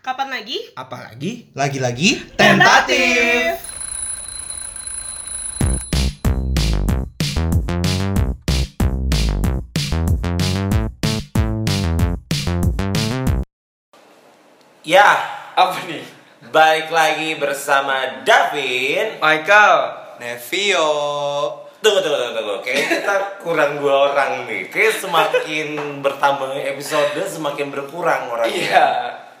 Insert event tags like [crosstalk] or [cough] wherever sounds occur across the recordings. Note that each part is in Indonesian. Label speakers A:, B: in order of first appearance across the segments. A: Kapan lagi?
B: Apalagi
C: Lagi-lagi
B: tentatif.
C: Ya,
D: apa nih
C: balik lagi bersama Davin.
D: Michael
C: Nevio. Tunggu, tunggu, tunggu, tunggu. Kayaknya kita kurang dua orang nih. Kayaknya semakin bertambah episode, semakin berkurang
D: iya
C: orangnya.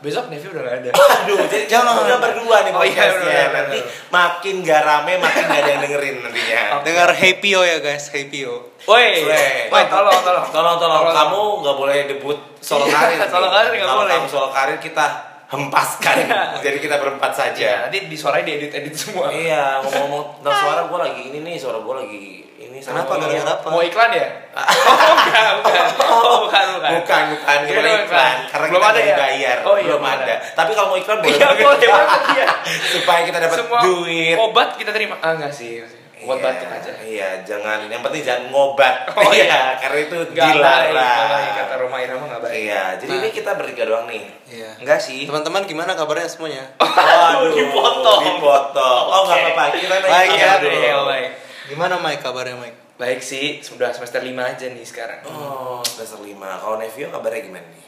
D: besok Nevi udah gak ada
C: [laughs] Aduh, jadi jangan udah berdua nih
D: Oh, iya,
C: podcastnya.
D: bener, bener,
C: nanti
D: bener.
C: makin gak rame, makin gak ada yang dengerin nantinya.
E: Dengar Happy ya guys, Happy
D: woi
C: Weh.
D: woi tolong tolong
C: Tolong, tolong, kamu nggak boleh debut solo
D: Iya,
C: karir. nih.
D: [laughs] solo karir nggak
C: Kalau
D: boleh.
C: kamu solo karir kita hempaskan.
D: [laughs] Iya.
C: Jadi kita berempat saja.
D: ya nanti di sore diedit edit semua
C: Iya, ngomong-ngomong tentang suara gue lagi ini nih, suara gue lagi ini. sama
E: Kenapa,
C: ini.
E: gara-gara apa?
D: mau iklan ya [laughs] oh enggak
C: [laughs]
D: bukan oh bukan
C: Ah.
D: bukan
C: Bukan, bukan,
D: Iya,
C: bukan
D: bukan.
C: iklan. Karena
D: Belum
C: kita
D: ada
C: belum
D: ya?
C: bayar,
D: Oh, iya,
C: belum
D: belum
C: ada.
D: ada.
C: Tapi kalau mau iklan boleh
D: iya
C: banget.
D: boleh banget iya
C: [laughs] Supaya kita dapat
D: semua
C: duit.
D: obat kita terima ah enggak sih obat
C: Iya,
D: batuk aja
C: Iya, jangan. Yang penting jangan ngobat.
D: Oh,
C: iya.
D: iya.
C: karena itu
D: Nggak
C: dilarang.
D: baik, nggak baik. kata Roma Irama nggak baik
C: Iya, jadi ini kita bertiga doang nih.
E: Nah. Iya.
C: Enggak sih.
E: Teman-teman gimana kabarnya semuanya?
C: Waduh,
D: [laughs] dipotong.
C: Dipotong. Oh, enggak
D: Oke.
C: apa-apa. Kita nanya
E: Baik
C: kabar
E: ya,
D: Iya, iya,
C: dulu.
D: baik
E: Gimana Mike kabarnya Mike?
D: baik sih sudah semester 5 aja nih sekarang
C: Oh, semester 5. Kalau Nevio kabarnya gimana nih?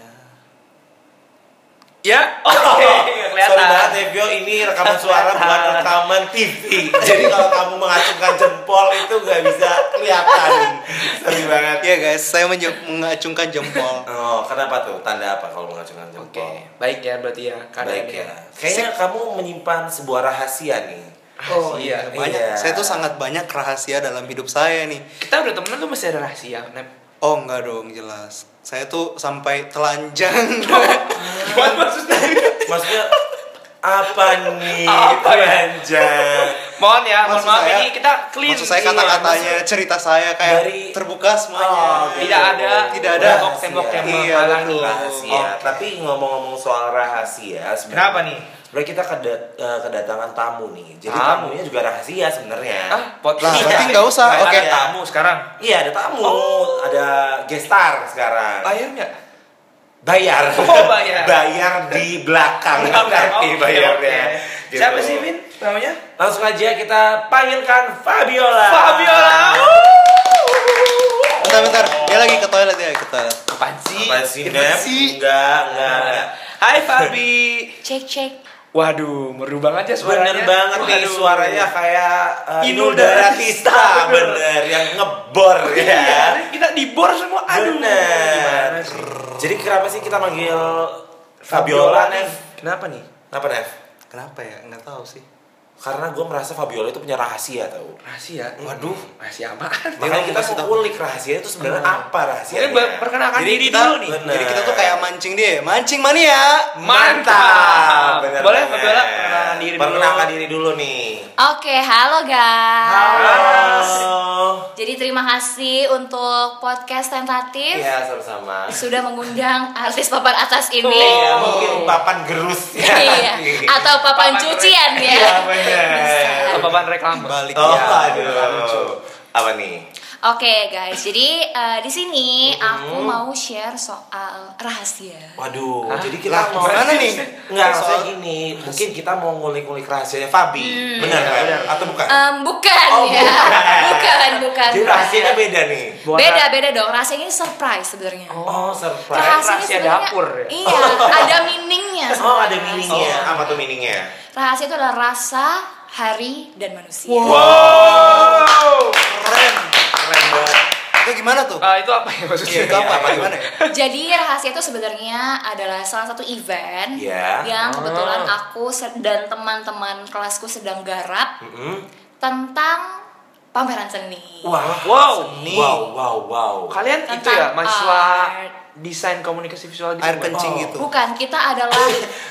E: Ya.
D: ya [laughs] oke nggak
C: Sorry banget ya.
D: kelihatan
C: Nevio, ini
D: [laughs]
C: rekaman suara bukan rekaman TV. Jadi kalau kamu mengacungkan jempol itu nggak bisa kelihatan. Sorry banget.
E: Ya guys, saya menje- mengacungkan jempol.
C: Oh, kenapa tuh? Tanda apa kalau mengacungkan jempol?
D: oke baik ya berarti ya
C: Baik
D: keadaannya.
C: ya. Kayaknya kamu menyimpan sebuah rahasia nih.
D: Oh iya,
C: [laughs] Iya.
E: Banyak. Saya tuh sangat banyak rahasia dalam hidup saya nih.
D: kita udah temenan tuh masih ada rahasia Nep
E: Oh enggak dong, jelas. Saya tuh sampai telanjang.
D: gimana maksudnya
C: Maksudnya apa nih?
D: Apa ya?
C: Telanjang.
D: mohon ya mohon
E: Maksud
D: maaf
E: saya-
D: ini kita clean
E: Maksud saya
D: Iya,
E: kata-katanya, cerita saya kayak
C: Dari-
E: terbuka
C: Oh,
E: semuanya. Gitu.
D: maksud- tidak ada
E: Tidak ada.
D: tembok tembok yang
E: Iya,
D: menghalangi
E: betul.
C: rahasia. Tapi ngomong-ngomong soal rahasia, sebenarnya-
D: Kenapa nih?
C: Sebenarnya kita keda- eh, kedatangan tamu nih. Jadi
D: Tamu.
C: tamunya juga rahasia sebenarnya.
D: ah pot
E: Lah,
D: Iya.
E: berarti nggak usah.
D: Ada
E: Oke.
D: tamu sekarang
C: Iya ada tamu,
D: Oh.
C: ada gestar sekarang.
D: bayar nggak
C: Bayar.
D: Oh, bayar.
C: [laughs] Bayar di belakang nanti
D: Oke,
C: bayarnya.
D: oke.
C: Gitu.
D: ya. siapa sih Vin namanya
C: Langsung aja kita panggilkan Fabiola.
D: Fabiola
E: Oh, Bentar, bentar. Dia lagi ke toilet ya, ke toilet.
D: apaan sih
C: Apa sih,
E: Gimana
C: Nep?
E: sih?
C: Enggak, enggak, enggak.
D: Hai Fabi
A: Cek cek.
D: Waduh, merubah aja suaranya.
C: Bener banget nih
D: Waduh.
C: suaranya kayak uh,
D: Inul
C: Inul Daratista bener yang ngebor
D: Iya,
C: ya.
D: kita dibor semua. Aduh,
C: Bener.
D: gimana sih?
C: Jadi kenapa sih kita manggil Fabiola Nev?
D: Kenapa nih?
C: Kenapa Nev?
E: Kenapa ya? Enggak tahu sih.
C: Karena gue merasa Fabiola itu punya rahasia tau.
D: Rahasia.
E: Waduh.
D: rahasia apaan?
C: Makanya
E: mau
C: kita
E: kasih
C: mau
E: tahu.
C: kulik rahasianya itu sebenarnya apa rahasianya?
D: Hmm. Mungkin buat- perkenalkan
E: Jadi
D: diri
E: kita-
D: dulu nih.
C: Bener.
E: Jadi kita tuh kayak mancing dia, mancing mania.
C: Hmm.
D: Mantap.
C: Bener
D: Boleh
C: banget.
D: Fabiola perkenalkan diri dulu.
C: Perkenalkan diri dulu nih.
F: Oke, halo guys.
C: Halo.
F: Jadi terima kasih untuk podcast tentatif
C: Iya sama-sama.
F: sudah mengundang artis papan atas ini.
C: Iya mungkin
D: Oh.
C: papan
D: [laughs]
C: gerus ya.
F: Iya. Atau
D: Papan
F: papan, cucian
C: Iya,
F: ya.
C: bener.
D: Apa Iya, bahan reklame?
E: Balik.
C: Oh,
E: ya.
C: aduh. Apa nih?
F: Oke guys, jadi eh, di sini aku mau share soal rahasia.
C: Waduh,
D: Hah?
C: jadi
E: Lah,
C: kita mau
E: gimana nih?
C: Enggak, maksudnya
E: Soal-
C: gini, mungkin kita mau ngulik-ngulik rahasianya Fabi.
F: Hmm.
C: Benar
D: Iya,
C: kan?
D: benar.
C: Atau bukan?
F: Em, bukan
C: Oh,
F: ya,
C: bukan.
F: Eh, bukan, bukan.
C: jadi rahasianya beda nih.
F: Beda beda dong. Rahasia ini surprise sebenarnya.
C: Oh, surprise.
F: Rahasianya
D: rahasia
F: sebenarnya-
D: dapur ya?
F: Iya, ada meaningnya.
C: Oh, ada
F: sebenarnya. Iya.
C: meaningnya. Apa tuh meaningnya?
F: Rahasia itu adalah rasa, hari, dan manusia.
D: Wow.
E: Keren.
C: Keren banget.
E: Itu gimana tuh?
D: Ah, itu apa ya maksudnya?
E: Itu apa?
C: apa
E: Gimana ya?
F: Jadi rahasia itu sebenarnya adalah salah satu event
C: Iya.
D: Ah.
F: yang kebetulan aku se- dan teman-teman kelasku sedang garap
C: Mm-mm.
F: tentang pameran seni.
C: Wah.
D: Wow.
E: Nih.
C: Wow, wow, wow.
D: Kalian itu
F: Tentang
D: ya mahasiswa
F: art.
D: desain komunikasi visual gitu.
E: Air
D: bukan?
E: kencing
C: Oh.
E: gitu.
F: Bukan, kita
C: [laughs]
F: adalah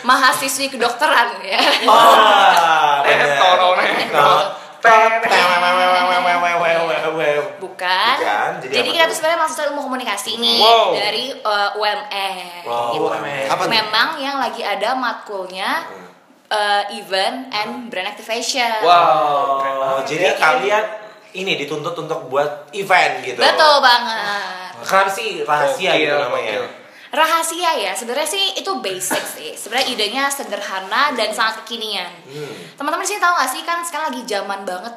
F: mahasiswi kedokteran ya.
C: Ah,
D: Eh,
C: benar.
D: toro, eh.
C: Nah,
D: Tet.
C: wewewewewewewewewewe.
F: Bukan.
C: Bukan, jadi
F: Jadi,
C: apa
F: kita
C: tuh?
F: tuh sebenarnya mahasiswa ilmu komunikasi nih
D: Wow.
F: dari uh, UMR.
C: Wow, Hmm.
F: gitu.
C: UMR.
E: Apa tuh?
F: Memang yang lagi ada matkulnya uh, event and brand activation.
D: Wow. keren
C: Oh,
D: banget.
C: jadi kalian ini dituntut untuk buat event gitu.
F: Betul banget.
C: Kenapa sih rahasia
D: Gokil,
C: gitu namanya?
D: gokil.
F: rahasia ya sebenarnya sih itu basic sih sebenarnya idenya sederhana dan sangat kekinian
C: Hmm.
F: teman-teman di sini tahu gak sih kan sekarang lagi zaman banget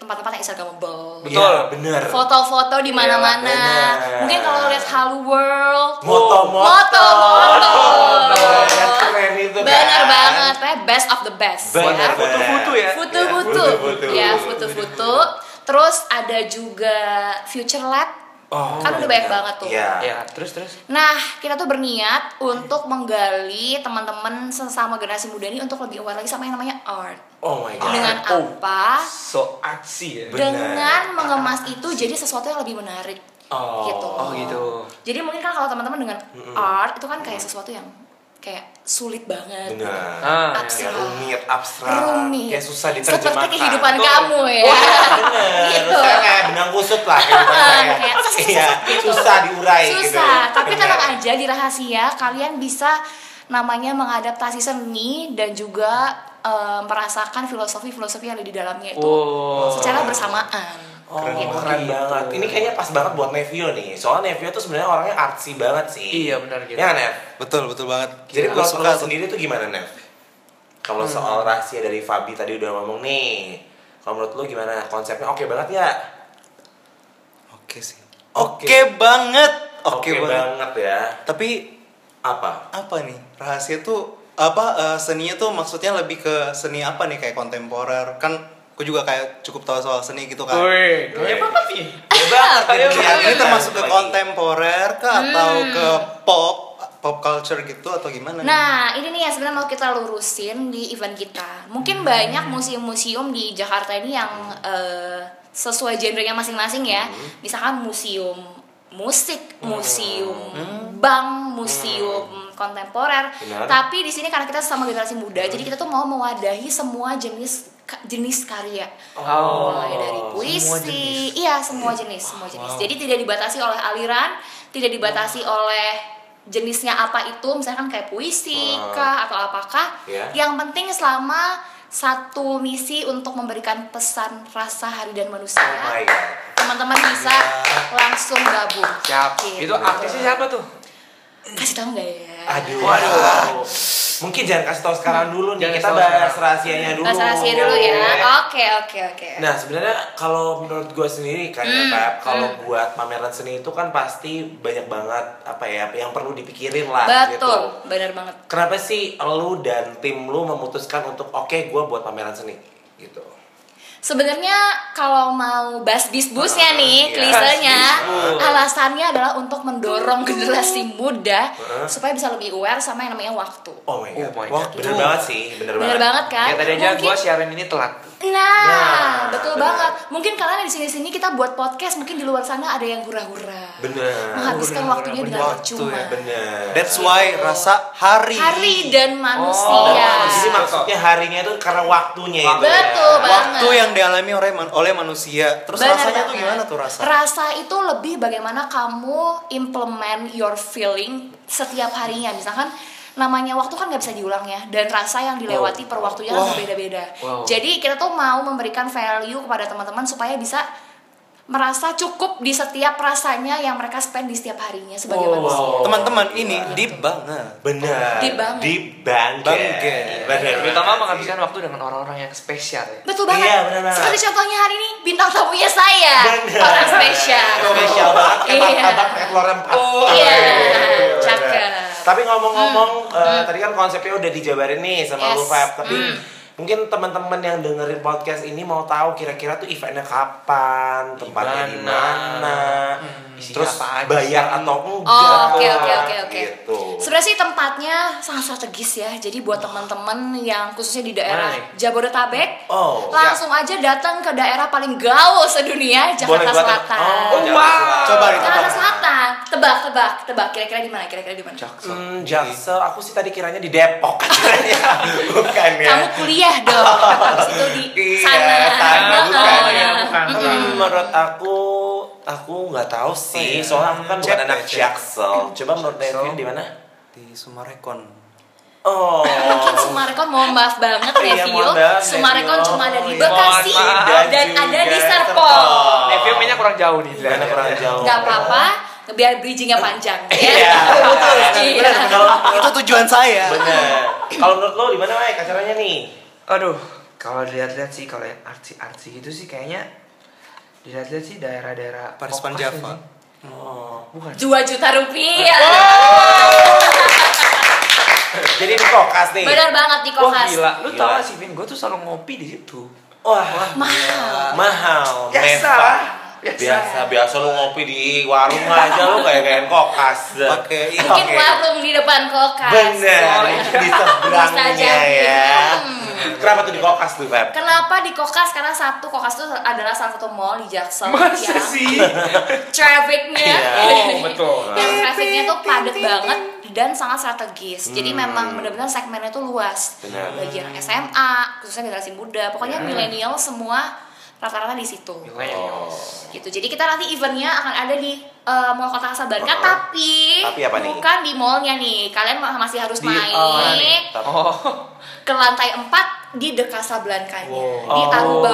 F: tempat-tempat yang instagramable
C: Betul, bener.
F: foto-foto di mana-mana
C: Iya, bener.
F: mungkin kalau lihat Hello World
C: Moto-moto.
F: moto moto
C: Keren, keren itu kan.
F: bener banget Pokoknya best of the best
C: Bener
F: ya.
C: banget.
D: Foto-foto ya?
F: Futu-futu.
C: Futu-futu.
F: Ya, futu-futu. Terus ada juga Future Lab.
C: Oh,
F: kan udah banyak banget tuh.
C: Iya.
D: Ya, terus terus.
F: Nah, kita tuh berniat untuk menggali teman-teman sesama generasi muda ini untuk lebih aware lagi sama yang namanya art.
C: Oh my god.
F: Dengan
D: Oh.
F: apa?
D: So aksi ya.
C: Bener.
F: Dengan mengemas itu jadi sesuatu yang lebih menarik.
C: Oh.
F: gitu.
D: Oh gitu.
F: Jadi mungkin kan kalau teman-teman dengan art itu kan kayak sesuatu yang kayak sulit banget.
C: Bener.
D: Ah,
F: Abstrak.
C: Kayak
D: ya.
C: rumit, abstrak.
F: Rumit.
C: Kayak susah diterjemahkan.
F: Seperti kehidupan
D: Betul.
F: kamu ya.
C: Bener.
F: [laughs] Gitu. Ah,
C: Saya kayak benang kusut lah kehidupan saya.
F: Kayak
C: Iya, susah diurai gitu.
F: susah tapi kan
C: Bener.
F: tenang aja di rahasia kalian bisa namanya mengadaptasi seni dan juga eh, merasakan filosofi-filosofi yang ada di dalamnya itu
D: Wow.
F: secara bersamaan
C: Oh,
F: Gitu.
C: keren, banget. Ini kayaknya pas banget buat Nevio nih. Soalnya Nevio tuh sebenarnya orangnya artsy banget sih.
D: Iya, benar gitu.
C: Ya, Nev.
E: Betul, betul banget.
C: Jadi
E: Gua
C: kalau
E: suka
C: lo
E: tuh. Hmm.
C: sendiri tuh gimana, Nev? Kalau soal rahasia dari Fabi tadi udah ngomong nih. Kalau menurut lo gimana? Konsepnya oke banget ya?
E: Oke sih.
C: Oke.
E: Oke banget. Oke
C: Oke
E: banget.
C: banget ya.
E: Tapi
C: Apa?
E: [laughs] apa nih? Rahasia tuh apa eh, seninya tuh maksudnya lebih ke seni apa nih kayak kontemporer kan aku juga kayak cukup tahu soal seni gitu kan
D: Woi, kayaknya
C: Woi.
D: banget nih.
C: Bebas.
D: Ayo,
E: Iya, ini termasuk ke
C: Lagi.
E: kontemporer ke atau ke pop pop culture gitu atau gimana?
F: Hmm. nah ini nih yang sebenarnya mau kita lurusin di event kita mungkin banyak museum-museum di Jakarta ini yang eh, sesuai genrenya masing-masing ya misalkan museum musik museum bank museum kontemporer
C: Benar.
F: tapi di sini karena kita sama generasi muda jadi kita tuh mau mewadahi semua jenis ka- jenis karya
D: Oh.
F: mulai dari
D: Semua
F: puisi
D: jenis.
F: iya semua jenis semua jenis jadi tidak dibatasi oleh aliran tidak dibatasi oleh jenisnya apa itu misalkan kayak puisi
C: Wow.
F: kah atau apakah
C: Iya.
F: yang penting selama satu misi untuk memberikan pesan rasa hari dan manusia
C: Oh my God.
F: teman-teman bisa langsung gabung
D: Siap.
F: Gitu.
D: Itu artisnya siapa tuh?
F: kasih tahu nggak ya
C: Aduh.
D: Waduh.
C: Mungkin jangan kasih tahu sekarang dulu nih.
D: Jangan
C: Kita
D: kasih tahu
C: bahas
D: sekarang.
C: rahasianya dulu.
F: Bahasa rahasia dulu ya oke oke oke
C: Nah sebenarnya kalau menurut gue sendiri kan ya,
F: Hmm,
C: Feb, kalau buat pameran seni itu kan pasti banyak banget apa ya yang perlu dipikirin lah gitu.
F: betul benar banget
C: Kenapa sih lu dan tim lu memutuskan untuk oke gue buat pameran seni gitu?
F: Sebenarnya kalau mau bas bisbusnya nih,
C: Iya.
F: klisenya,
D: Bus-bus.
F: alasannya adalah untuk mendorong generasi muda
C: Hmm. Heeh.
F: supaya bisa lebih aware sama yang namanya waktu.
C: Oh my god,
D: Oh my
C: Wah,
D: God.
C: bener banget sih, bener,
F: Bener banget kan?
D: Ya tadi aja
F: Mungkin-
D: gua siaran ini telat.
F: Nah,
C: Nah,
F: betul
C: bener.
F: banget. Mungkin kalian di sini-sini kita buat podcast, mungkin di luar sana ada yang hura-hura.
C: Bener.
F: Menghabiskan
D: Hura-hura,
F: waktunya
D: bener.
F: dengan
E: Waktu
F: percuma.
E: ya,
C: Bener.
E: That's why
F: Gitu.
E: rasa hari.
F: Hari dan
C: Oh,
F: manusia.
C: jadi maksudnya harinya itu karena waktunya itu. ya.
F: betul banget.
E: Waktu yang dialami oleh man- oleh manusia. Terus
F: Benar
E: rasanya tuh
F: banget.
E: gimana tuh rasa?
F: Rasa itu lebih bagaimana kamu implement your feeling setiap harinya. Misalkan namanya waktu kan nggak bisa diulang ya dan rasa yang dilewati per waktunya kan
E: Wah.
F: berbeda-beda.
D: Wow.
F: Jadi kita tuh mau memberikan value kepada teman-teman supaya bisa merasa cukup di setiap rasanya yang mereka spend di setiap harinya sebagai
C: Wow.
F: manusia.
E: Teman-teman
C: Gila.
E: ini deep banget.
C: Bener.
F: Deep banget.
C: Deep banget.
E: Banget.
C: Bener.
D: Terutama menghabiskan waktu dengan orang-orang yang spesial ya.
F: Betul banget.
C: Iya, benar banget.
F: Seperti contohnya hari ini bintang tamunya saya,
C: Bener.
F: orang spesial.
C: Spesial banget kayak
F: Iya.
C: martabak kayak telur empat.
F: Iya,
C: Bener.
F: cakep.
C: Iya. Tapi ngomong-ngomong, eh, tadi kan konsepnya udah dijabarin nih sama
F: Hmm. Yes.
C: lu Feb. Tapi
F: Hmm.
C: mungkin teman-teman yang dengerin podcast ini mau tahu kira-kira tuh eventnya kapan, tempatnya di
D: Dimana.
C: mana,
D: Hmm, isinya
C: terus
D: apa aja
C: bayar
D: sih?
C: atau enggak.
F: Oh, oke oke oke oke.
C: Gitu.
F: Sebenarnya sih tempatnya sangat strategis ya. Jadi buat teman-teman yang khususnya di daerah
D: Mana nih?
F: Jabodetabek,
C: Oh,
F: langsung aja datang ke daerah paling gaul sedunia,
C: Boleh
F: Jakarta
C: buat-
F: Selatan.
C: Oh, wow.
D: Jakarta Selatan.
E: Coba ditebak.
F: Jakarta Selatan. Tebak, tebak, tebak. Kira-kira di mana? Kira-kira di mana?
C: Hmm, Jaksel, aku sih tadi kiranya di Depok [laughs] katanya. Bukan ya.
F: Kamu kuliah
C: [laughs]
F: dong. Habis itu di
C: Iya,
F: sana.
C: sana,
F: Heeh.
C: bukan
D: ya, bukan.
C: Hmm, menurut aku aku nggak tahu sih, soalnya aku kan
E: Cek
C: bukan anak
E: deh, cek.
C: Jaksel. Coba menurut
D: Jaksel.
C: Nevin di mana?
E: Di Sumarekon.
C: [laughs] Oh,
F: Mungkin Sumarekon mohon maaf banget
C: Iya,
F: Nevio
C: mohon maaf,
F: Sumarekon
C: Nevio.
F: cuma ada di
D: Mohon
F: Bekasi
D: maaf.
F: dan
C: juga
F: ada di Serpong
C: Serpong.
F: Oh.
D: Review mainnya Eh, kurang jauh nih.
C: Gimana kurang jauh?
F: nggak apa-apa biar bridgingnya
C: [laughs]
F: panjang ya
C: Oh. Iya, betul sekali.
F: Iya.
C: Benar, kalau
E: itu tujuan saya
C: benar. Kalau menurut lo di mana, Mai, acaranya nih?
D: Aduh, kalau dilihat-lihat sih kalau yang artsy-artsy gitu sih kayaknya dilihat-lihat sih daerah-daerah
E: Parispan
D: Popas
E: Java.
D: sih. Oh, bukan.
F: dua juta rupiah
C: Jadi di kokas nih.
F: benar banget di
D: Wah
F: kokas
D: gila, lu
C: Gila.
D: tau gak sih Vin, gue tuh selalu ngopi di situ.
C: Wah,
F: mahal
C: mahal.
D: Biasa
C: mewah.
D: lah.
C: Oh, Biasa, biasa lo ngopi di warung aja lo kayak kayak kokas.
E: Pakai ini.
F: bikin
C: Oke.
F: warung di depan kokas
C: Benar, di seberangnya
F: Mustajab,
C: ya.
F: hmm.
C: Kenapa tuh di kokas tuh, Feb?
F: Kenapa di Kokas? Karena satu Kokas itu adalah salah satu mall di Jaksel
D: Masa
F: yang
D: sih?
F: [laughs] trafficnya
C: Iya.
D: Oh, betul.
F: yang trafficnya tuh padat banget dan sangat strategis. Jadi memang benar-benar segmennya tuh luas.
C: Hmm. Benar. Iya.
F: Bagi anak SMA, khususnya generasi muda, pokoknya milenial semua rata-rata di situ.
C: Oh.
F: Gitu. Jadi kita nanti eventnya akan ada di eh, Mall Kota Kasablanka,
C: Oh.
F: tapi,
C: Tapi apa nih?
F: bukan di mallnya nih. Kalian ma- masih harus
D: Di-
F: main
D: oh, mana nih? Oh,
F: ke lantai 4 di The Kasablanca-nya, di
C: Oh.
F: Aruba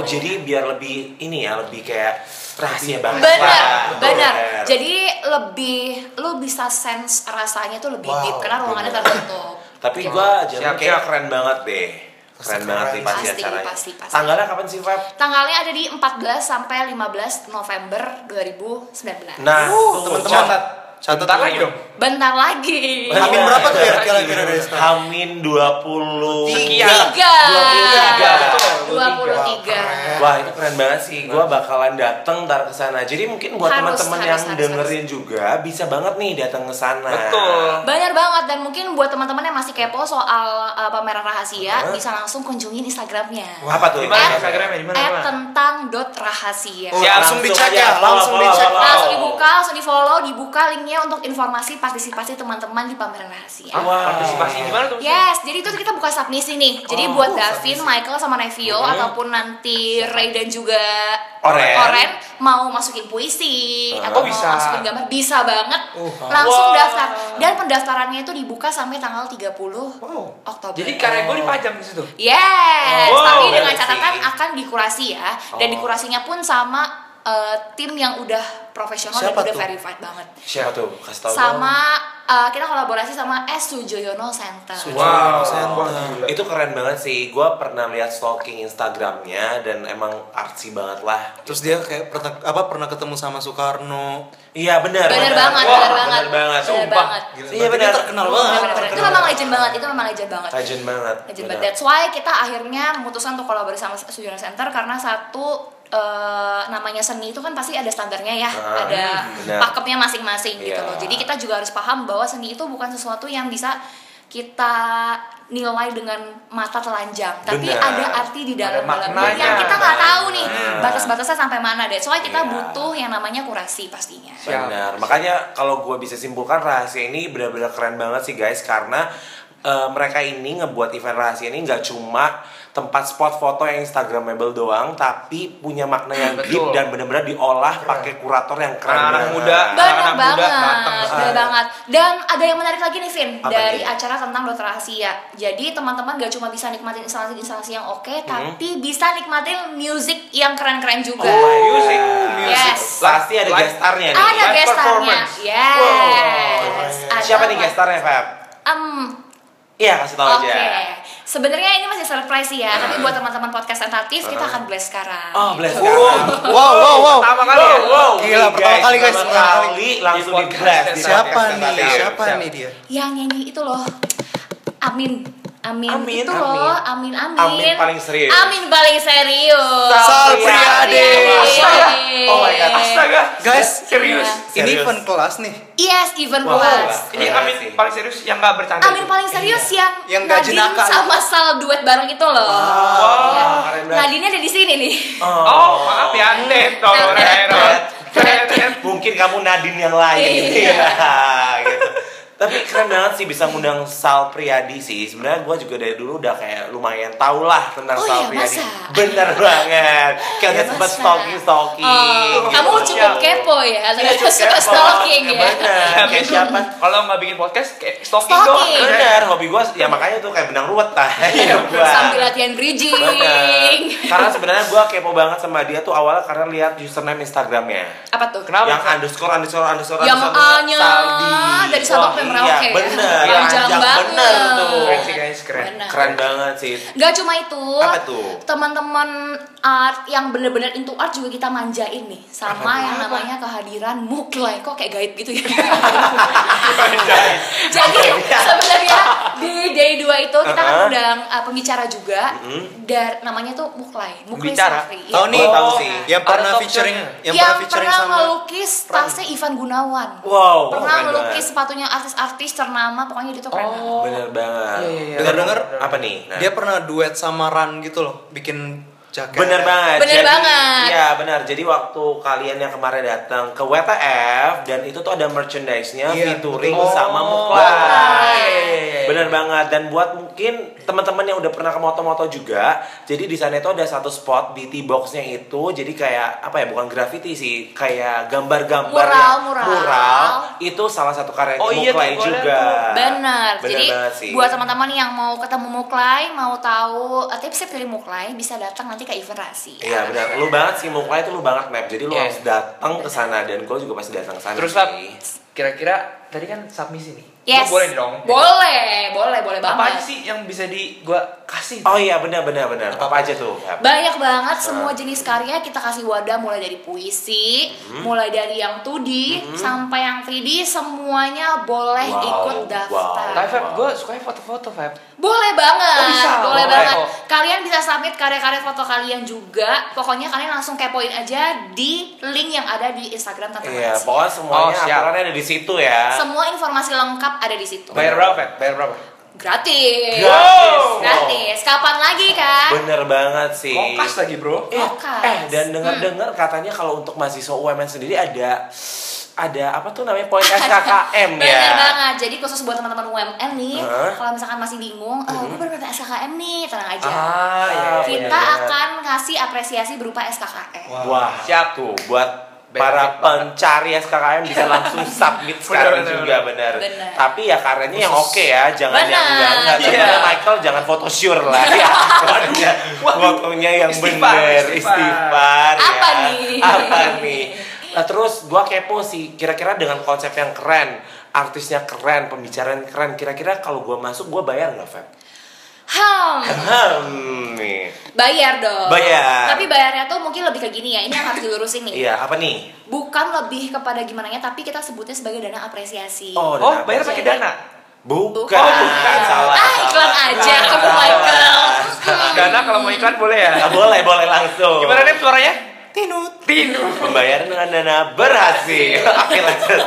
C: Oh, jadi biar lebih ini ya, lebih kayak rahasia banget. lah.
F: Benar,
C: Betul,
F: benar.
C: Feb.
F: Jadi lebih lu bisa sense rasanya tuh lebih
C: Wow,
F: deep karena ruangannya
C: bener.
F: tertutup.
C: Tapi
F: Gitu.
C: gua jalan
D: Siap,
C: kayak
D: siap.
C: keren banget deh. Keren
E: Pasti
C: banget
E: keren.
C: nih pasti,
F: Pasti,
C: acaranya.
F: pasti, pasti.
C: Tanggalnya kapan sih, Feb?
F: Tanggalnya ada di 14 sampai 15 November 2019.
C: Nah,
E: Uh,
C: tunggu,
E: teman-teman.
C: catat.
E: Catat
D: bentar lagi
F: Nah.
D: dong.
F: Bentar lagi.
C: Bentar.
E: Amin berapa tuh ya kira-kira dari sekarang?
C: Hamin 20
D: Sekian.
F: Tiga.
D: 23.
F: 23.
C: Wah itu keren banget sih, gue bakalan dateng ntar ke sana. Jadi mungkin buat
F: Harus,
C: teman-teman
F: harus,
C: yang
F: harus,
C: dengerin juga bisa banget nih datang ke sana.
D: Betul.
F: Banyak banget dan mungkin buat teman-teman yang masih kepo soal uh, pameran rahasia
C: Hah?
F: bisa langsung kunjungin Instagramnya.
E: Wah,
C: Apa tuh?
D: Di mana
F: Eh,
D: Instagramnya? Di mana?
F: At
D: Di mana?
F: tentang dot rahasia.
E: Oh,
D: Siap,
E: langsung dicek
C: aja,
E: ya, langsung
C: follow,
E: dicek.
C: follow, follow.
F: Langsung dibuka, langsung di follow, dibuka linknya untuk informasi partisipasi teman-teman di pameran rahasia.
C: Wow.
D: Partisipasi di mana tuh?
F: Yes, jadi itu kita buka submisi nih. Jadi
D: Oh,
F: buat Davin, Michael sama Nevio ataupun nanti Ray dan juga
C: Oren.
F: mau masukin puisi
C: Oh,
F: atau
D: bisa.
F: mau masukin gambar bisa banget.
D: Oh.
F: Langsung
D: Wow.
F: daftar dan pendaftarannya itu dibuka sampai tanggal 30 Oktober.
D: Jadi karya gue dipajang di situ.
F: Yes,
D: Wow,
F: tapi dengan
C: keren
F: catatan
C: sih.
F: akan dikurasi ya. Dan
C: Oh.
F: dikurasinya pun sama eh, tim yang udah profesional
E: Siapa
F: dan udah
E: tuh?
F: verified banget.
C: Siapa tuh? Kasih tau
F: sama eh, kita kolaborasi sama S Sujoyono Center.
D: Wow.
C: dong. Itu keren banget sih. Gue pernah lihat stalking Instagramnya dan emang artsy banget lah.
E: Terus dia kayak pernah apa pernah ketemu sama Soekarno.
C: Iya benar.
F: Bener banget,
D: Wah,
C: Bener
F: bener banget,
C: banget.
F: bener
D: sumpah.
F: banget.
C: Iya
E: Berarti
C: benar.
E: dia terkenal
F: Bener,
E: banget.
F: bener, bener. Itu
E: terkenal.
F: memang legend banget, itu memang legend banget.
C: Legend banget.
F: Legend
C: benar.
F: banget. That's why kita akhirnya memutuskan untuk kolaborasi sama Sujoyono Center karena satu eh, namanya seni itu kan pasti ada standarnya ya,
C: Ah,
F: ada
C: benar.
F: pakemnya masing-masing gitu
C: Iya.
F: loh. Jadi kita juga harus paham bahwa seni itu bukan sesuatu yang bisa kita nilai dengan mata telanjang, tapi
C: Benar.
F: ada arti di dalam
D: Ada
F: dalamnya yang
D: maknanya.
F: kita nggak tahu nih
C: Benar.
F: batas-batasnya sampai mana. That's why kita
C: Iya.
F: butuh yang namanya kurasi pastinya.
D: Siap.
C: Benar. Makanya kalau gue bisa simpulkan rahasia ini benar-benar keren banget sih guys karena eh, mereka ini ngebuat event rahasia ini nggak cuma tempat spot foto yang instagramable doang tapi punya makna yang deep
D: Betul.
C: dan benar-benar diolah pakai kurator yang keren.
D: Anak-anak
C: banget.
D: muda.
F: Banyak
D: Anak-anak muda
F: banget,
D: datang ke
F: banyak
D: sana.
F: banget. Dan ada yang menarik lagi nih, Vin,
C: Apa
F: dari
C: nih?
F: acara tentang dokter rahasia. Jadi teman-teman gak cuma bisa nikmatin instalasi-instalasi yang oke,
C: Hmm.
F: tapi bisa nikmatin music yang keren-keren juga.
C: Oh my
D: Music,
C: God.
F: music. Yes.
C: Pasti ada
D: Live-
C: gestarnya nih.
F: ada
D: Live
F: guest star-nya.
D: performance.
F: Yes. ada
C: Siapa nih
F: banget.
C: gestarnya Feb?
F: Em,
C: Iya kasih tahu
F: Oke,
C: aja.
F: sebenarnya ini masih surprise ya, tapi buat teman-teman podcast tentatif kita akan blast sekarang.
C: Hmm. Oh, bless
E: Wow, wow, wow.
D: Pertama kali ya?
E: Gila, pertama kali, guys.
C: Pertama
E: Pertama
C: kali langsung
D: Di
C: di blast.
D: podcast.
C: di
E: Siapa
C: podcast
E: nih?
C: tentatif.
E: Siapa
D: Siap.
E: nih dia?
F: Yang nyanyi itu loh, Amin. Amin,
C: Amin,
F: itu
C: Amin.
F: loh, amin, amin.
C: Amin paling serius.
F: Amin paling serius.
E: Sal
C: Priadi.
E: Priadi.
D: Astaga.
C: Oh my God.
D: Astaga.
E: Guys,
D: serius.
F: Iya.
E: Ini
C: Serius.
E: event kelas nih.
F: Yes, even
C: Wah,
F: kelas.
D: Ini
C: Keren
D: Amin
C: sih.
D: paling serius yang gak bercanda.
F: Amin
D: itu.
F: paling serius yang,
E: Yang gak
F: Nadine
E: jenaka.
F: sama Sal duet bareng itu loh. Iya.
C: keren banget.
F: Nadine ada di sini nih.
D: Oh, maaf ya, Net. Tolong,
F: Net,
D: Ren.
C: [laughs] Mungkin kamu Nadine yang lain.
F: Iya.
C: Iya, gitu. Tapi keren banget sih bisa ngundang Sal Priadi sih. Sebenarnya gue juga dari dulu udah kayak lumayan tau lah tentang
F: Oh
C: Sal
F: iya,
C: Priadi.
F: masa?
C: Bener banget. Kayaknya
F: Iya,
C: sempat
F: masa?
C: stalking stalking.
F: [laughs]
C: iya.
F: Oh, kamu cukup kepo ya, ternyata
D: kepo.
F: suka stalking ya.
C: Bener. Kayak siapa?
D: Kalau nggak bikin podcast, kayak stalking,
F: Stalking.
D: doang.
C: Bener. Hobi gue ya makanya tuh kayak benang ruwet lah. [laughs] Ya, gua.
F: Sambil latihan bridging.
C: Bener. Karena sebenarnya gue kepo banget sama dia tuh awalnya karena lihat username Instagramnya.
F: Apa tuh?
D: Kenapa?
C: yang underscore underscore underscore
F: Yang
C: underscore
F: A-nya
C: Saldi.
F: dari Sabang
C: Wah,
F: sampai Merauke
C: iya,
F: ya?
C: bener
F: Panjang
C: panjang
F: banget.
C: bener tuh
D: Keren sih guys, keren.
F: Bener.
C: keren banget
F: [laughs]
C: sih
F: Gak cuma itu,
C: Apa tuh?
F: teman-teman art yang bener-bener into art juga kita manjain nih sama yang namanya kehadiran muklai kok kayak gaib gitu ya. Jadi sebenarnya di day 2 itu kita akan
C: Uh-huh.
F: undang uh, pembicara juga dar namanya tuh muklai, muklai
D: Pembicara?
F: Safri. Iya.
E: Tahu nih,
C: Oh, tahu sih.
E: Yang
D: Ada
E: pernah
D: talk
E: featuring,
D: show-nya.
E: yang,
F: Yang,
E: pernah featuring sama
F: melukis tasnya Ivan Gunawan.
C: wow
F: pernah
C: keren
F: melukis
C: banget.
F: sepatunya artis-artis ternama, pokoknya dia tuh
D: Oh.
F: keren. banget.
C: bener banget
D: Iya, iya, iya.
E: Dengar-dengar,
C: apa nih Nah.
E: dia pernah duet sama Ran gitu loh, bikin jaket.
C: Bener banget.
F: Bener banget.
C: Iya benar. Jadi waktu kalian yang kemarin datang ke WTF dan itu tuh ada merchandise-nya
E: Iya,
C: featuring
D: betul.
C: sama
D: Oh,
C: Muklai.
D: Muklai.
C: Bener banget. Dan buat mungkin teman-teman yang udah pernah ke moto-moto juga, jadi di sana itu ada satu spot di T-box-nya itu, jadi kayak apa ya? Bukan graffiti sih, kayak gambar-gambar
F: Mural,
C: yang-
F: mural.
C: itu salah satu karya
D: Oh, iya tuh,
C: Muklai
D: boleh
C: juga.
D: tuh.
F: Bener.
C: Bener
F: Jadi
C: banget sih.
F: buat teman-teman yang mau ketemu Muklai, mau tahu eh, tips-tips dari Muklai, bisa datang nanti ke event Rasi.
C: Iya benar, lu banget sih Muklai itu lu banget map. Jadi lu
D: Iya.
C: harus datang ke sana dan gue juga pasti datang ke sana.
D: Terus Fab,
C: sih.
D: kira-kira tadi kan submisi nih.
F: Yes.
D: Lu boleh dong.
F: Boleh, boleh, boleh
D: Apa aja
F: banget.
D: sih yang bisa di gua kasih?
C: Oh iya benar benar benar. Apa aja tuh? Feb?
F: Banyak banget
C: Nah.
F: semua jenis karya kita kasih wadah mulai dari puisi,
C: Hmm.
F: mulai dari yang 2D sampai yang 3D semuanya boleh
C: Wow,
F: ikut
C: wow.
F: daftar.
D: Tapi Feb, gua suka foto-foto Feb.
F: Boleh banget,
D: Oh, bisa?
F: boleh
D: Boleh.
F: banget.
D: Oh.
F: Kalian bisa submit karya-karya foto kalian juga. Pokoknya kalian langsung kepoin aja di link yang ada di Instagram Tante
C: Iya,
F: Marasi.
C: pokoknya semuanya
D: Oh, siap.
C: aturannya ada di situ ya.
F: Semua informasi lengkap ada di situ.
D: Bayar berapa Feb? Bayar berapa?
F: Gratis.
C: Gratis.
F: Gratis. Kapan lagi kan?
C: Bener banget sih.
D: Kokas lagi bro.
C: Eh,
F: Kokas.
C: eh, dan
F: Hmm.
C: dengar-dengar katanya kalau untuk mahasiswa UMN sendiri ada ada apa tuh namanya poin SKKM ya.
F: [laughs] Bener banget. Jadi khusus buat teman-teman UMN nih,
C: Heeh.
F: kalau misalkan masih bingung, eh gue baru dapat SKKM nih, tenang
D: Ah,
F: aja.
D: iya,
C: Ah,
D: iya.
F: Kita
C: bener.
F: akan ngasih apresiasi berupa SKKM.
E: Wah.
C: Wah,
D: Siap.
C: tuh buat
D: Benefit
C: para
D: banget.
C: pencari SKKM bisa
D: [laughs]
C: langsung submit sekarang
D: bener,
C: juga benar.
F: Bener.
C: Tapi ya karyanya yang oke ya, jangan
F: Bener.
C: yang enggak enggak. Tapi
D: Iya.
C: ya Michael jangan photoshoot lah
D: [laughs]
C: ya. Pokoknya fotonya yang
D: Istighfar,
C: benar,
D: istighfar.
C: istighfar ya.
F: Apa nih?
C: Apa nih? Nah, terus gua kepo sih, kira-kira dengan konsep yang keren, artisnya keren, pembicaraan keren, kira-kira kalau gua masuk gua bayar nggak, Feb?
F: Hmm.
C: Hmm, nih.
F: Bayar dong.
C: Bayar.
F: Tapi bayarnya tuh mungkin lebih ke gini ya. Ini yang harus dilurusin nih.
C: Iya, apa nih?
F: Bukan lebih kepada gimana nya, tapi kita sebutnya sebagai dana apresiasi.
C: Oh,
D: Oh,
C: dana
D: bayar pakai dana.
C: Bukan,
F: Oh, Bukan.
C: salah.
F: Ah,
C: salah.
F: iklan aja Oh kamu
C: Salah.
F: Michael.
D: Dana kalau mau iklan boleh ya.
C: Ya, boleh, boleh langsung.
D: Gimana deh suaranya?
E: Tinut.
D: Tinu.
C: Pembayaran dengan dana
D: Iya.
C: berhasil. [laughs] Oke, lanjut.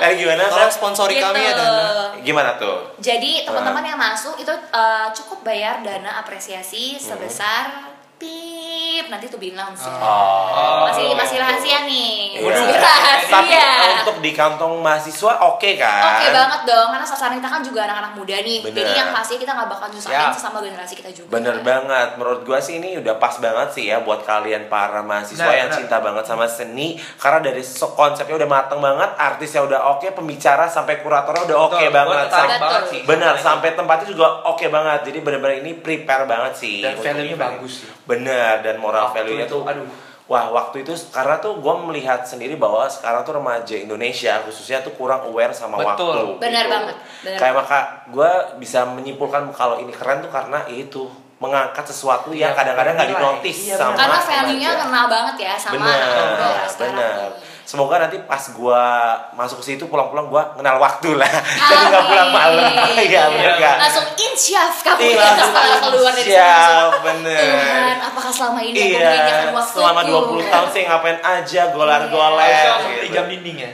C: Tadi gimana, Sam?
E: Tolong sponsori
C: Iya,
E: kami ya
F: Gitu.
E: Dana.
C: Gimana tuh?
F: Jadi teman-teman yang masuk itu eh, cukup bayar dana apresiasi
C: Hmm.
F: sebesar pip nanti tuh bilang sih.
C: Oh.
F: Masih masih rahasia nih.
C: Iya. gitu.
F: Masih
C: Tapi
F: rahasia.
C: untuk di kantong mahasiswa oke kan?
F: iya. Oke banget dong, karena sasaran kita kan juga anak-anak muda nih.
C: Bener. Ya.
F: Jadi yang pasti kita nggak bakal nyusahin
D: Siap.
F: sesama generasi kita juga.
C: Bener banget, menurut gua sih ini udah pas banget sih ya buat kalian para mahasiswa
D: Nah,
C: yang
D: bener.
C: cinta banget sama seni Karena dari se- konsepnya udah mateng banget, artisnya udah oke, pembicara sampai kuratornya udah oke
D: Betul,
C: banget
D: gua tertarik
F: Sam.
D: banget sih.
C: Benar, sampai tempatnya juga oke banget. Jadi benar-benar ini prepare banget sih.
D: Dan
C: untuk
D: value-nya
C: event.
D: bagus sih.
C: Benar, dan moral
D: Waktu
C: value-nya
D: itu,
C: tuh
D: aduh.
C: Wah, waktu itu karena tuh gue melihat sendiri bahwa sekarang tuh remaja Indonesia khususnya tuh kurang aware sama
D: Betul.
C: waktu.
F: Benar
C: gitu.
F: banget, benar.
C: Kayak maka gue bisa menyimpulkan kalau ini keren tuh karena itu mengangkat sesuatu yang
D: Iya,
C: kadang-kadang nggak
D: bernilai.
C: dinotis
D: Iya,
C: sama
F: Karena
C: remaja.
F: value-nya kena banget ya sama anak muda
C: Bener,
F: sekarang
C: bener.
F: nih.
C: Semoga nanti pas gua masuk ke situ pulang-pulang gua kenal waktu lah. [laughs] Jadi nggak pulang malam. [laughs]
F: Amin.
C: Iya bener gak?
F: Langsung insyaf kamu
C: Iya,
F: ya setelah keluar dari
C: siap,
F: sini.
C: bener.
F: Tuhan, apakah selama ini aku
C: Iya,
F: menginjakan waktu? Iya,
C: selama 20 tahun sih ngapain aja
D: Harusnya
C: golar-goler.
D: langsung
C: gitu.
D: tiga dinding ya.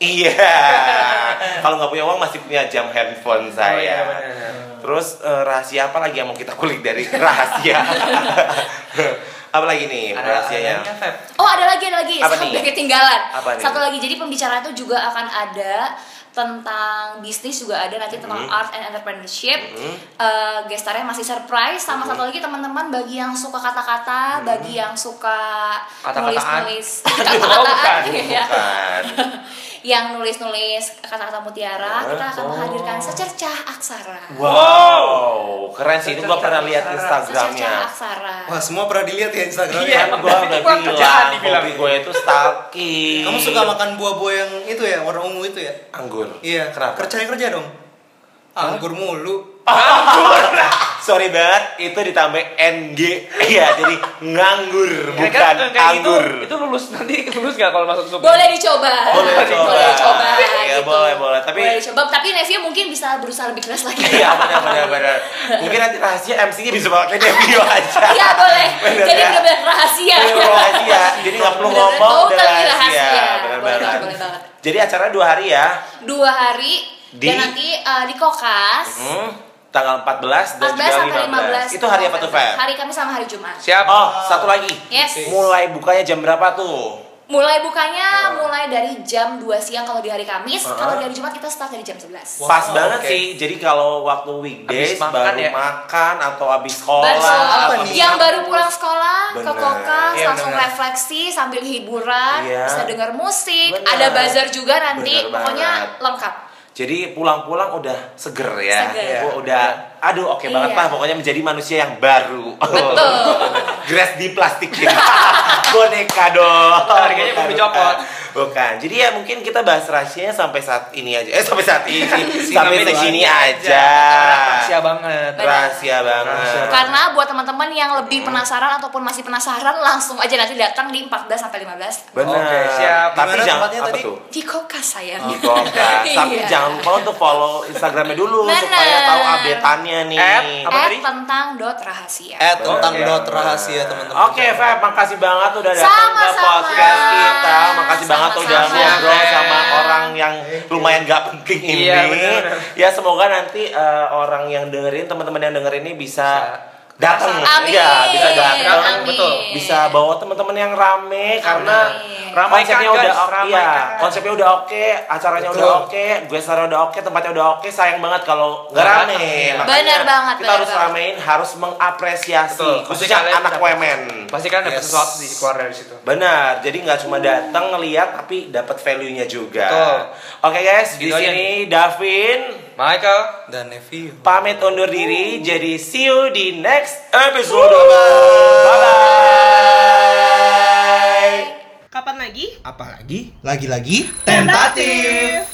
C: Iya.
F: [laughs]
C: Kalau nggak punya uang masih punya jam handphone saya.
D: Oh, iya, bener.
C: Terus eh, rahasia apa lagi yang mau kita kulik dari [laughs]
F: [laughs]
C: rahasia? apa lagi nih
D: Ada
C: rahasianya?
D: adanya
C: [laughs]
D: Feb.
F: Oh ada lagi ada lagi
C: Apa
F: Saya
C: nih?
F: hampir ketinggalan.
C: Apa nih?
F: Satu lagi jadi pembicaraan itu juga akan ada tentang bisnis juga ada nanti tentang
C: Mm-hmm.
F: art and entrepreneurship. Eh, gestarnya masih surprise sama
C: Mm-hmm.
F: satu lagi teman-teman bagi yang suka kata-kata, bagi yang suka
C: [laughs]
D: Kata-kataan.
F: nulis-nulis
D: Oh, bukan.
F: kata-kataan, [laughs] [laughs] iya.
C: Bukan.
F: yang nulis-nulis kata-kata mutiara,
C: Ya.
F: kita akan
C: Oh.
F: menghadirkan secercah aksara.
C: Wow, keren sih itu gue pernah lihat
F: Secercah
C: Instagramnya.
F: aksara.
E: Wah semua pernah dilihat ya Instagramnya.
D: Iya.
C: Kan gue
D: Itu
C: udah
D: gua kerjaan
C: bilang,
D: dibilang.
C: hobi gue itu stalking.
E: Kamu suka makan buah-buah yang itu ya warna ungu itu ya?
C: anggur?
E: Iya.
C: Kenapa?
E: Kerja kerja dong. Anggur mulu.
C: Sorry banget, itu ditambah NG. Iya, jadi nganggur
D: Ya
C: bukan
D: kan, kayak gitu,
C: anggur.
D: itu lulus nanti lulus nggak kalau masuk sub?
F: boleh dicoba
C: Boleh dicoba.
F: boleh dicoba
C: Iya,
F: gitu.
C: boleh, boleh. Tapi-
F: boleh dicoba tapi Nevia mungkin bisa berusaha lebih keras lagi
C: Iya, benar benar benar. Mungkin nanti rahasia MC-nya bisa pakai Devio aja.
F: Iya,
C: [laughs]
F: boleh
C: Bener,
F: jadi
C: ya?
F: benar rahasia
C: Ini perlu rahasia, jadi nggak perlu
F: Bener-bener
C: ngomong udah
F: total
C: rahasia.
F: rahasia.
C: Benar
F: Boleh
C: banget.
F: banget, boleh banget.
C: Jadi acara dua hari ya.
F: dua hari
C: Di-
F: dan nanti eh, di kokas
C: Hmm, tanggal 14 dan
F: 14
C: juga
F: sampai
C: 15.
F: 15
C: Itu hari apa tuh, Feb?
F: hari Kamis sama hari Jumat
D: Siap.
C: Oh, satu lagi.
F: Yes.
C: Mulai bukanya jam berapa tuh?
F: mulai bukanya
C: Hmm.
F: mulai dari jam 2 siang kalau di hari Kamis kalau di hari Jumat kita start dari jam 11
C: Pas
E: Wow,
C: banget
E: oke.
C: sih. Jadi kalau waktu weekdays
D: Abis makan
C: baru
D: ya?
C: makan atau habis sekolah
F: Baru-
E: apa nih?
F: yang baru pulang sekolah ke
C: Bener.
F: kokas
D: Iya,
F: langsung
D: bener.
F: refleksi sambil hiburan
C: Iya.
F: bisa dengar musik
C: Bener.
F: ada bazar juga nanti
C: Bener
F: pokoknya
C: banget.
F: lengkap
C: Jadi pulang-pulang udah seger ya.
F: Seger.
C: Gua udah aduh oke
F: Iya.
C: banget lah pokoknya menjadi manusia yang baru.
F: Betul.
C: [laughs] Grass di plastikin. [laughs] Boneka dong.
D: Harganya belum
C: Bukan, bukan.
D: dicopot.
C: Bukan. Jadi ya mungkin kita bahas rahasianya sampai saat ini aja. Eh sampai saat ini. sampai
E: Sampai
C: segini
E: doang
C: aja.
D: Rahasia banget.
F: Bener.
C: Rahasia
D: Rahasia
C: banget.
D: banget.
F: karena buat teman-teman yang lebih penasaran ataupun masih penasaran langsung aja nanti datang di 14 sampai 15
C: Benar.
D: Oke, siap.
C: Tapi
E: Gimana
C: jangan
E: tempatnya
C: apa
E: tadi?
C: tuh?
F: di kokas sayang
C: Di
F: [laughs]
C: Gongka. Tapi
F: Iya.
C: jangan lupa untuk follow Instagramnya dulu
F: Bener.
C: supaya tahu update-annya nih.
D: At apa
F: Eh,
D: tadi?
F: tentang dot rahasia
E: Eh tentang
C: Bener.
E: dot rahasia teman-teman.
C: Oke, Feb, makasih banget udah datang ke
F: Sama-sama.
C: podcast kita. Makasih banget udah
F: Sama-sama.
C: ngobrol sama orang yang lumayan gak penting ini.
D: Iya, bener.
C: ya semoga nanti eh, orang yang dengerin, teman-teman yang dengerin ini bisa datang.
F: amin
C: Ya, bisa datang.
F: amin.
D: betul.
C: Bisa bawa teman-teman yang rame karena
F: Amin.
C: ramai konsepnya udah
D: Ramaikan, kan, guys,
C: oke.
D: ramaikan.
C: konsepnya udah oke, acaranya
E: Betul.
C: udah oke, gue udah oke, tempatnya udah oke. Sayang banget kalau nggak
D: Nggak
C: rame.
D: datang.
C: Makanya
F: Bener banget,
C: Kita
F: bener
C: harus
F: banget.
C: ramein, harus mengapresiasi
D: Betul.
C: khususnya
D: Pasti kalian
C: anak
D: dapat-
C: women.
D: Pasti kan dapat
E: Yes.
D: sesuatu sih keluar dari situ.
C: Benar, jadi nggak cuma datang ngeliat tapi dapat value-nya juga.
D: Betul.
C: Oke guys, di
D: Gitu aja
C: sini Davin
D: Michael.
E: Dan Nevi.
C: pamit undur diri. Jadi see you di next episode. Bye bye.
A: Kapan lagi?
B: Apalagi
E: Lagi-lagi
B: tentatif.